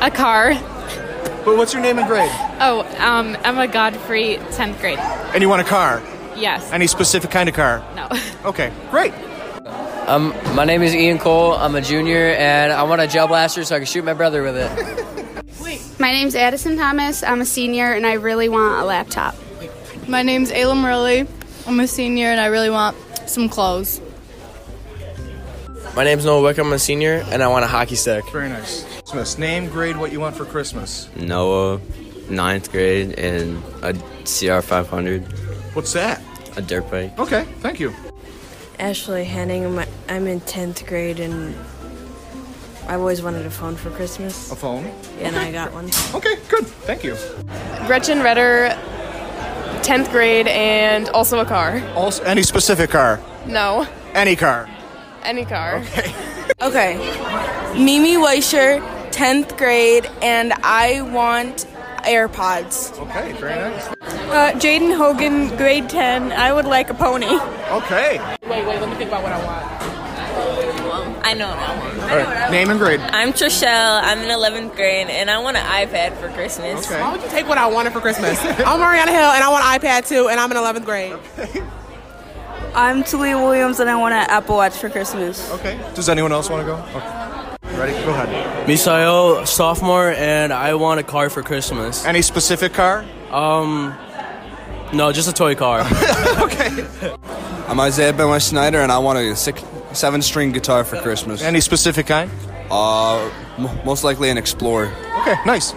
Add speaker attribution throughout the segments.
Speaker 1: a car.
Speaker 2: But what's your name and grade?
Speaker 1: Oh, um, Emma Godfrey, 10th grade.
Speaker 2: And you want a car?
Speaker 1: Yes.
Speaker 2: Any specific kind of car?
Speaker 1: no.
Speaker 2: Okay, great.
Speaker 3: Um, my name is Ian Cole. I'm a junior, and I want a gel blaster so I can shoot my brother with it.
Speaker 4: My name's Addison Thomas. I'm a senior and I really want a laptop.
Speaker 5: My name's Ayla Murley. I'm a senior and I really want some clothes.
Speaker 6: My name's Noah Wick. I'm a senior, and I want a hockey stick.
Speaker 2: Very nice. Christmas. Name, grade, what you want for Christmas.
Speaker 7: Noah, ninth grade, and a CR500,
Speaker 2: What's that?
Speaker 7: a dirt bike.
Speaker 2: Okay, thank you.
Speaker 8: Ashley Henning. I'm, I'm in 10th grade and I've always wanted a phone for Christmas,
Speaker 2: A phone?
Speaker 8: and I got one.
Speaker 2: Okay, good. Thank you.
Speaker 5: Gretchen Redder, 10th grade, and also a car.
Speaker 2: Also, any specific car?
Speaker 5: No,
Speaker 2: Any car.
Speaker 5: any car.
Speaker 9: Okay. Mimi Weisher, 10th grade, and I want AirPods.
Speaker 2: Okay, very nice.
Speaker 9: Uh, Jaden Hogan, grade 10. I would like a pony.
Speaker 2: Okay.
Speaker 10: I know now.
Speaker 2: All right. Name and grade.
Speaker 10: I'm Trishelle. I'm in 11th grade, and I want an iPad for Christmas.
Speaker 2: Okay.
Speaker 11: would you take what I wanted for Christmas? I'm Mariana Hill, and I want an iPad too, and I'm in 11th grade.
Speaker 9: I'm Talia Williams, and I want an Apple Watch for Christmas.
Speaker 2: Okay. Does anyone else want to go? Okay. Ready? Go ahead.
Speaker 3: Misael, sophomore, and I want a car for Christmas.
Speaker 2: Any specific car?
Speaker 3: Um, no, just a toy car.
Speaker 2: Okay.
Speaker 6: I'm Isaiah Benway Snyder, and I want a six, seven-string guitar for Christmas.
Speaker 2: Any specific kind?
Speaker 6: Uh, m- most likely an Explorer.
Speaker 2: Okay, nice.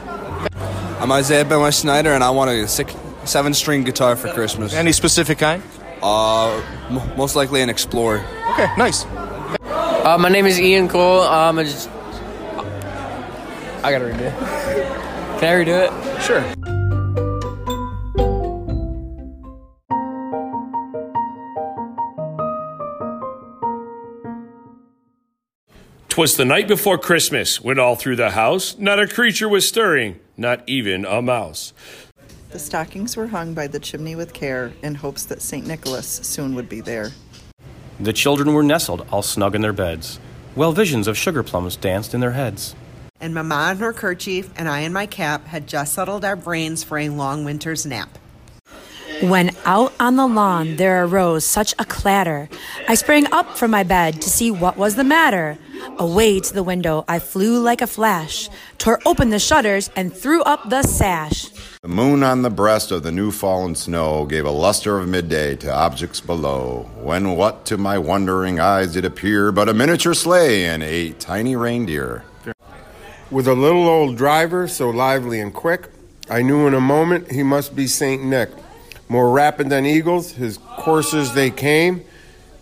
Speaker 6: I'm Isaiah Benway Snyder, and I want a six, seven-string guitar for Christmas.
Speaker 2: Any specific kind?
Speaker 6: Uh, m- most likely an Explorer.
Speaker 2: Okay, nice.
Speaker 3: Uh, my name is Ian Cole. Um, I just, I gotta redo it. Can I redo it?
Speaker 2: Sure.
Speaker 12: Twas the night before Christmas, when all through the house not a creature was stirring, not even a mouse.
Speaker 11: The stockings were hung by the chimney with care in hopes that St. Nicholas soon would be there.
Speaker 13: The children were nestled all snug in their beds, while visions of sugar plums danced in their heads.
Speaker 11: And Mamma in her kerchief and I in my cap had just settled our brains for a long winter's nap.
Speaker 9: When out on the lawn there arose such a clatter, I sprang up from my bed to see what was the matter. Away to the window I flew like a flash, tore open the shutters, and threw up the sash.
Speaker 14: The moon on the breast of the new fallen snow gave a luster of midday to objects below. When what to my wondering eyes did appear but a miniature sleigh and eight tiny reindeer.
Speaker 13: With a little old driver so lively and quick, I knew in a moment he must be Saint Nick. More rapid than eagles, his coursers they came,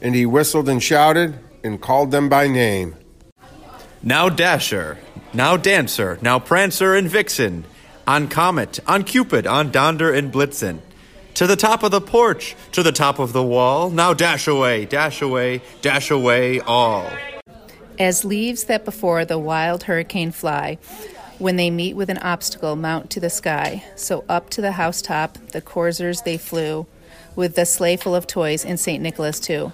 Speaker 13: and he whistled and shouted and called them by name.
Speaker 15: Now Dasher, now Dancer, now Prancer and Vixen, on Comet, on Cupid, on Donder and Blitzen. To the top of the porch, to the top of the wall, now dash away, dash away, dash away all.
Speaker 5: As leaves that before the wild hurricane fly, when they meet with an obstacle, mount to the sky. So up to the housetop, the coursers they flew, with the sleigh full of toys and St. Nicholas too.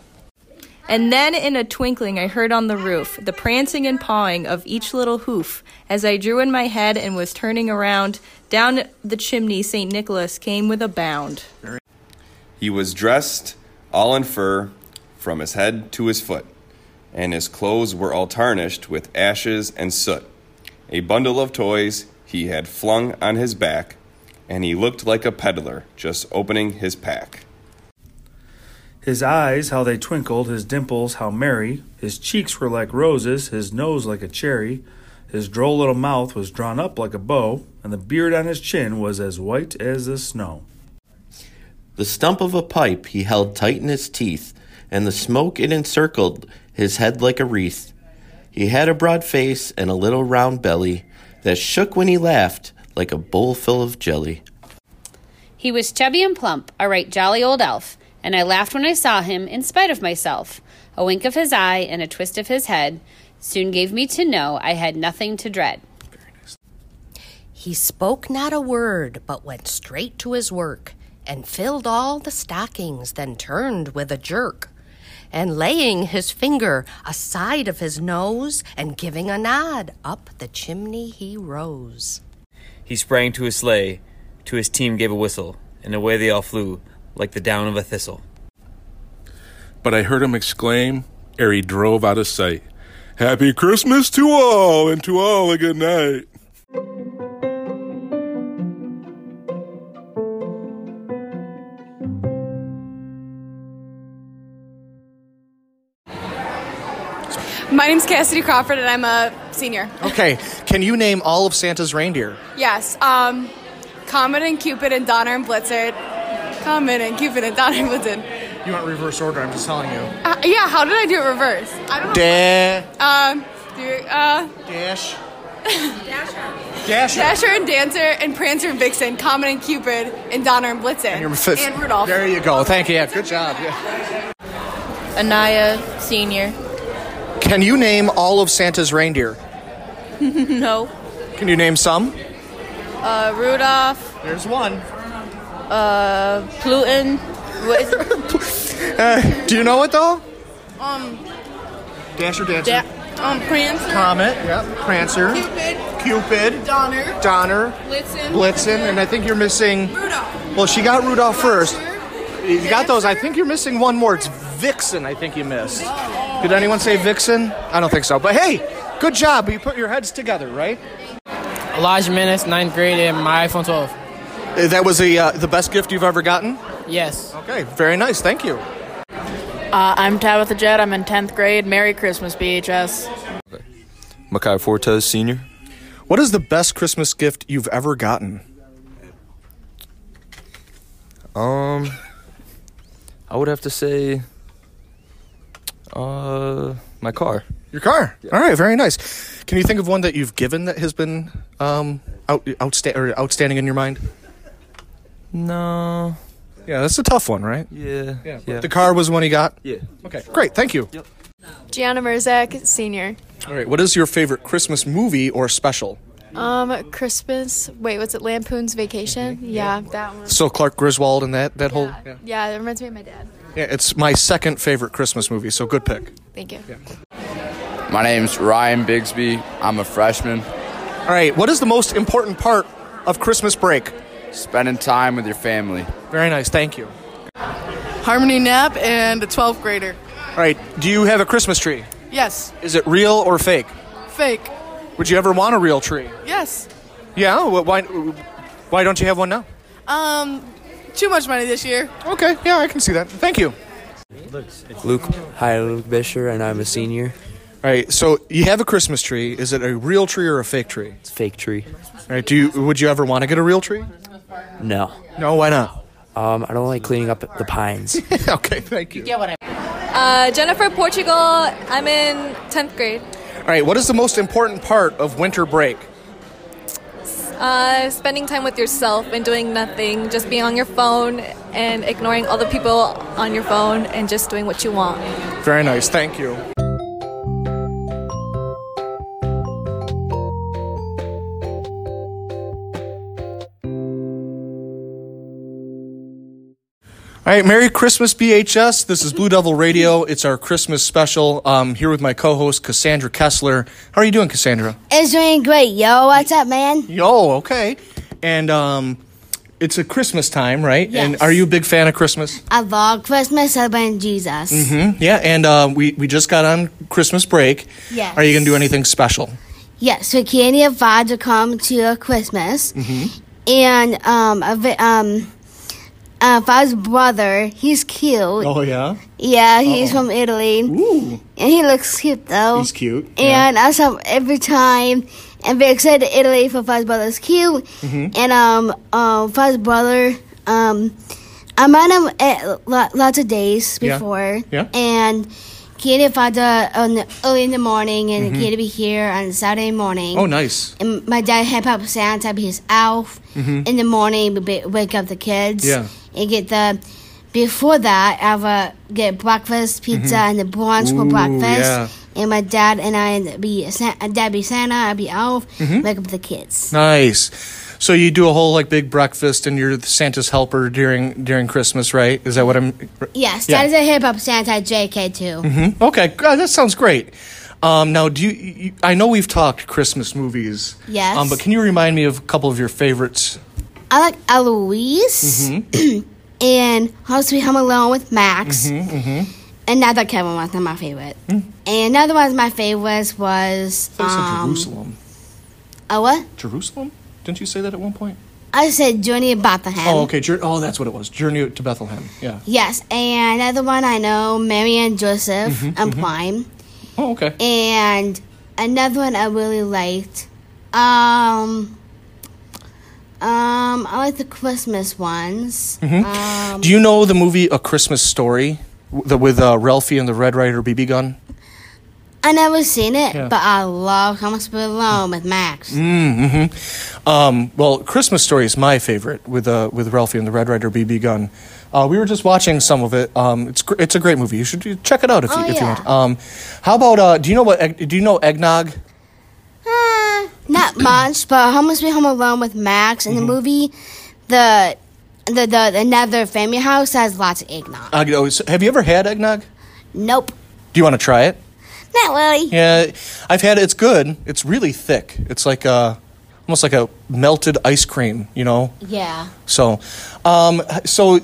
Speaker 10: And then, in a twinkling, I heard on the roof the prancing and pawing of each little hoof. As I drew in my head and was turning around, down the chimney St. Nicholas came with a bound.
Speaker 7: He was dressed all in fur from his head to his foot, and his clothes were all tarnished with ashes and soot. A bundle of toys he had flung on his back, and he looked like a peddler just opening his pack.
Speaker 13: His eyes, how they twinkled, his dimples, how merry. His cheeks were like roses, his nose like a cherry. His droll little mouth was drawn up like a bow, and the beard on his chin was as white as the snow.
Speaker 16: The stump of a pipe he held tight in his teeth, and the smoke it encircled his head like a wreath. He had a broad face and a little round belly that shook when he laughed like a bowl full of jelly.
Speaker 17: He was chubby and plump, a right jolly old elf, and I laughed when I saw him in spite of myself. A wink of his eye and a twist of his head soon gave me to know I had nothing to dread.
Speaker 18: He spoke not a word, but went straight to his work, and filled all the stockings, then turned with a jerk. and laying his finger aside of his nose and giving a nod, up the chimney he rose.
Speaker 19: He sprang to his sleigh, to his team gave a whistle, and away they all flew, like the down of a thistle.
Speaker 20: But I heard him exclaim ere he drove out of sight, Happy Christmas to all, and to all a good night.
Speaker 13: My name's Cassidy Crawford, and I'm a senior.
Speaker 2: Okay, can you name all of Santa's reindeer?
Speaker 13: Yes. Um, Comet and Cupid and Donner and Blitzard. Comet and Cupid and Donner and Blitzard.
Speaker 2: You want reverse order, I'm just telling you.
Speaker 13: Uh, yeah, how did I do it reverse? I don't know.
Speaker 2: Da-
Speaker 13: Um, do, uh,
Speaker 2: dash.
Speaker 13: Dasher.
Speaker 2: Dasher.
Speaker 13: and Dancer and Prancer and Vixen, Comet and Cupid and Donner and Blitzen
Speaker 2: And your fifth-
Speaker 13: and Rudolph.
Speaker 2: There you go. Thank you. Yeah, good job. Yeah.
Speaker 21: Anaya Senior.
Speaker 2: Can you name all of Santa's reindeer?
Speaker 21: no.
Speaker 2: Can you name some?
Speaker 21: Uh, Rudolph.
Speaker 2: There's one.
Speaker 21: Uh, Pluton. What is it?
Speaker 2: Uh, do you know it though?
Speaker 21: um,
Speaker 2: Dasher, Dancer,
Speaker 21: da- um, Prancer.
Speaker 2: Comet, yep, Prancer,
Speaker 21: Cupid.
Speaker 2: Cupid,
Speaker 21: Donner.
Speaker 2: Donner,
Speaker 21: Blitzen.
Speaker 2: Blitzen, and I think you're missing. Rudolph. Well, she got Rudolph first.
Speaker 21: Uh,
Speaker 2: You got those. I think you're missing one more. It's Vixen. I think you missed. Did anyone say Vixen? I don't think so. But hey, good job. You put your heads together, right?
Speaker 22: Elijah Menace, ninth grade, and my iPhone 12.
Speaker 2: Uh, That was the uh, the best gift you've ever gotten.
Speaker 22: Yes.
Speaker 2: Okay, very nice. Thank you.
Speaker 21: Uh, I'm Tabitha Jett. I'm in 10th grade. Merry Christmas, BHS.
Speaker 23: Makai Fortes Sr.
Speaker 2: What is the best Christmas gift you've ever gotten?
Speaker 23: Um, I would have to say, uh, my car.
Speaker 2: Your car. All right, very nice. Can you think of one that you've given that has been um, out, outsta- or outstanding in your mind?
Speaker 23: No.
Speaker 2: Yeah, that's a tough one, right?
Speaker 23: Yeah.
Speaker 2: Yeah.
Speaker 23: yeah.
Speaker 2: The car was one he got?
Speaker 23: Yeah.
Speaker 2: Okay, great. Thank you.
Speaker 24: Gianna Merzak, senior.
Speaker 2: All right, what is your favorite Christmas movie or special?
Speaker 24: Um, Christmas. Wait, what's it? Lampoon's Vacation. Yeah, that one.
Speaker 2: Mm-hmm. So Clark Griswold and that, that whole. Yeah.
Speaker 24: Yeah, it reminds me of my dad.
Speaker 2: yeah, it's my second favorite Christmas movie, so good pick.
Speaker 24: Thank you.
Speaker 25: My name's Ryan Bigsby. I'm a freshman.
Speaker 2: All right, what is the most important part of Christmas break?
Speaker 25: Spending time with your family.
Speaker 2: Very nice, thank you.
Speaker 26: Harmony Knapp and a 12th grader.
Speaker 2: All right, do you have a Christmas tree?
Speaker 26: Yes.
Speaker 2: Is it real or fake?
Speaker 26: Fake.
Speaker 2: Would you ever want a real tree?
Speaker 26: Yes.
Speaker 2: Yeah, wh- why, why don't you have one now?
Speaker 26: Um, too much money this year.
Speaker 2: Okay, yeah, I can see that. Thank you.
Speaker 27: Luke. Hi, Luke Bisher, and I'm a senior.
Speaker 2: All right, so you have a Christmas tree. Is it a real tree or a fake tree? It's
Speaker 27: a fake tree.
Speaker 2: All right, do you, would you ever want to get a real tree?
Speaker 27: No.
Speaker 2: No, why not?
Speaker 27: Um, I don't like cleaning up the pines.
Speaker 2: okay, thank you.
Speaker 28: get what I Uh, Jennifer Portugal. I'm in 10th grade.
Speaker 2: All right, what is the most important part of winter break?
Speaker 28: Uh, spending time with yourself and doing nothing, just being on your phone and ignoring all the people on your phone and just doing what you want.
Speaker 2: Very nice, thank you. All right, Merry Christmas, BHS. This is Blue Devil Radio. It's our Christmas special. Um, here with my co-host Cassandra Kessler. How are you doing, Cassandra?
Speaker 11: It's doing great, yo. What's up, man?
Speaker 2: Yo, Oh, okay. And um, it's a Christmas time, right?
Speaker 11: Yes.
Speaker 2: And are you a big fan of Christmas?
Speaker 11: Of all Christmas, I've been Jesus.
Speaker 2: Mm-hmm. Yeah, and uh, we we just got on Christmas break.
Speaker 11: Yes.
Speaker 2: Are you gonna do anything special?
Speaker 11: Yes, we can have vod to come to Christmas.
Speaker 2: Mm-hmm.
Speaker 11: And um, a vi- um, uh, Fod's brother, he's cute.
Speaker 2: Oh yeah,
Speaker 11: Yeah, he's from Italy. And he looks cute though.
Speaker 2: he's cute.
Speaker 11: And I saw him every time. And very excited to Italy for Fuzz Brother's cute.
Speaker 2: Mhm.
Speaker 11: And um, um, Fuzz Brother, um, I met him at lo- lots of days
Speaker 2: Yeah.
Speaker 11: before.
Speaker 2: Yeah.
Speaker 11: And Katie Fuzz on the, early in the morning, and
Speaker 2: Mhm.
Speaker 11: mm to be here on Saturday morning.
Speaker 2: Oh, nice.
Speaker 11: And my dad had Papa Santa be his elf
Speaker 2: Mhm.
Speaker 11: in the morning. We ba- wake up the kids.
Speaker 2: Yeah.
Speaker 11: And get the. Before that, I would get breakfast, pizza,
Speaker 2: Mhm.
Speaker 11: and the brunch for
Speaker 2: Ooh,
Speaker 11: breakfast.
Speaker 2: yeah.
Speaker 11: And my dad and I be San- dad be Santa, I be elf,
Speaker 2: Mhm.
Speaker 11: wake up the kids.
Speaker 2: Nice. So you do a whole like big breakfast, and you're the Santa's helper during during Christmas, right? Is that what I'm?
Speaker 11: Yes,
Speaker 2: Yeah.
Speaker 11: that is a hip hop Santa JK too.
Speaker 2: hmm Okay, God, that sounds great. Um, now, do you, you? I know we've talked Christmas movies.
Speaker 11: Yes.
Speaker 2: Um, but can you remind me of a couple of your favorites?
Speaker 11: I like Eloise
Speaker 2: Mm-hmm.
Speaker 11: and How Sweet Home Alone with Max.
Speaker 2: mm-hmm. Mm.
Speaker 11: And not that Kevin one's not my favorite. And another one of my favorites was
Speaker 2: I thought you said
Speaker 11: um,
Speaker 2: Jerusalem.
Speaker 11: Oh what?
Speaker 2: Jerusalem? Didn't you say that at one point?
Speaker 11: I said Journey of Bethlehem.
Speaker 2: oh, okay. Jour- oh, that's what it was. Journey to Bethlehem. Yeah.
Speaker 11: Yes, and another one I know, Mary and Joseph
Speaker 2: Mhm,
Speaker 11: and
Speaker 2: mhm.
Speaker 11: Prime.
Speaker 2: Oh, okay.
Speaker 11: And another one I really liked. Um um, I like the Christmas ones.
Speaker 2: Mhm.
Speaker 11: Um,
Speaker 2: Do you know the movie A Christmas Story, W- the, with uh, Ralphie and the Red Rider BB gun?
Speaker 11: I never seen it,
Speaker 2: Yeah. Mm.
Speaker 11: but I love Home Sweet Alone with Max.
Speaker 2: Mm-hmm. Um, well, Christmas Story is my favorite with uh, with Ralphie and the Red Rider BB gun. Uh, we were just watching some of it. Um, it's gr- it's a great movie. You should you check it out if you
Speaker 11: Oh,
Speaker 2: if you
Speaker 11: yeah.
Speaker 2: want. Um, how about uh, do you know what egg- do you know eggnog?
Speaker 11: Uh, not much, but Home Sweet Home Alone with Max
Speaker 2: Mm-hmm.
Speaker 11: in the movie, the the the another family house has lots of eggnog.
Speaker 2: Uh, oh, so- have you ever had eggnog?
Speaker 11: Nope,
Speaker 2: Do you want to try it?
Speaker 11: not really.
Speaker 2: Yeah, I've had it. It's good. It's really thick. It's like a, almost like a melted ice cream, you know?
Speaker 11: Yeah.
Speaker 2: So, um, so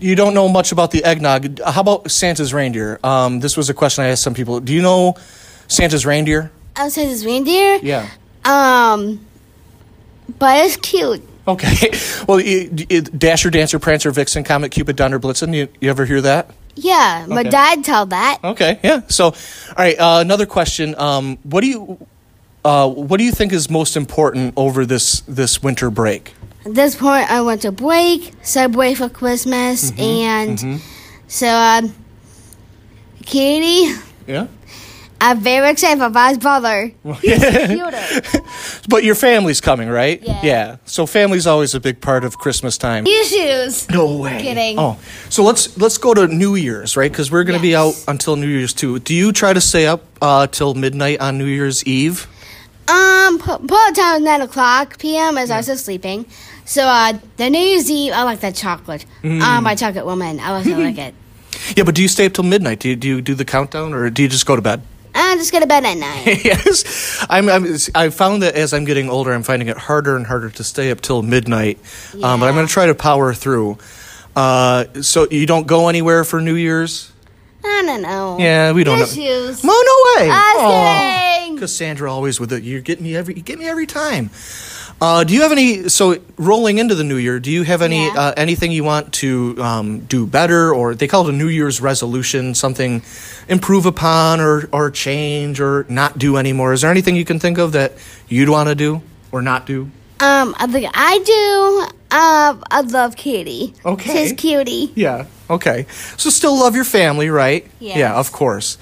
Speaker 2: you don't know much about the eggnog. How about Santa's reindeer? Um, this was a question I asked some people. Do you know Santa's reindeer?
Speaker 11: Outside this reindeer,
Speaker 2: Yeah.
Speaker 11: um, but it's cute.
Speaker 2: Okay. Well, it, it, Dasher, Dancer, Prancer, Vixen, Comet, Cupid, Donner, Blitzen. You, you ever hear that?
Speaker 11: Yeah, my
Speaker 2: Okay.
Speaker 11: dad told that.
Speaker 2: Okay. Yeah. So, all right. Uh, another question. Um, what do you, uh, what do you think is most important over this this winter break?
Speaker 11: At this point, I went to break Subway for Christmas,
Speaker 2: Mm-hmm.
Speaker 11: and so um, Katie,
Speaker 2: Yeah.
Speaker 11: I'm very excited for Bob's brother.
Speaker 2: but your family's coming, right? Yeah. So family's always a big part of Christmas time.
Speaker 11: Issues.
Speaker 2: No way.
Speaker 11: Kidding.
Speaker 2: Oh, so let's let's go to New Year's, right? Because we're going to be out until New Year's too. Do you try to stay up uh, till midnight on New Year's Eve?
Speaker 11: Um, pu- pull time is nine o'clock p.m. as I was still sleeping. So uh, the New Year's Eve, I like that chocolate. Um,
Speaker 2: Mm.
Speaker 11: by Chocolate Woman, I also like it.
Speaker 2: Yeah, but do you stay up till midnight? Do you, do you do the countdown, or do you just go to bed?
Speaker 11: I just go to bed at night.
Speaker 2: yes, I'm, I'm. it's- I found that as I'm getting older, I'm finding it harder and harder to stay up till midnight. Um, but I'm going to try to power through. Uh, so you don't go anywhere for New Year's?
Speaker 11: I don't know.
Speaker 2: Yeah, we don't know.
Speaker 11: Oh. Issues.
Speaker 2: No, no way.
Speaker 11: I was
Speaker 2: Aw.
Speaker 11: kidding.
Speaker 2: Cassandra always with it. You get me every. You get me every time. Uh, do you have any? So rolling into the new year, do you have any uh, anything you want to um, do better, or they call it a New Year's resolution, something improve upon, or or change, or not do anymore? Is there anything you can think of that you'd want to do or not do?
Speaker 11: Um, I think I do. Um, I love Kitty.
Speaker 2: Okay.
Speaker 11: She's cutie.
Speaker 2: Yeah. Okay. So still love your family, right?
Speaker 11: Yes.
Speaker 2: Yeah, of course.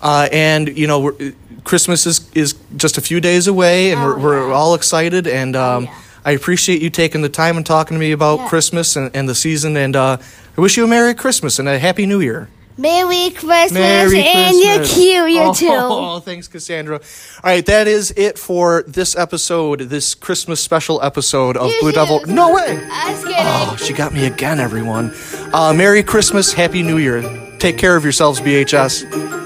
Speaker 2: Uh, and you know, we're, Christmas is is just a few days away,
Speaker 11: Oh,
Speaker 2: and we're, we're all excited. And um, I appreciate you taking the time and talking to me about Christmas and, and the season. And uh, I wish you a Merry Christmas and a Happy New Year.
Speaker 11: Merry Christmas,
Speaker 2: Merry
Speaker 11: and
Speaker 2: Christmas.
Speaker 11: you're cute, you
Speaker 2: oh,
Speaker 11: too.
Speaker 2: Oh, thanks, Cassandra. All right, that is it for this episode, this Christmas special episode of Blue Devil. No way.
Speaker 11: I was kidding.
Speaker 2: Oh, she got me again, everyone. Uh, Merry Christmas, Happy New Year. Take care of yourselves, BHS.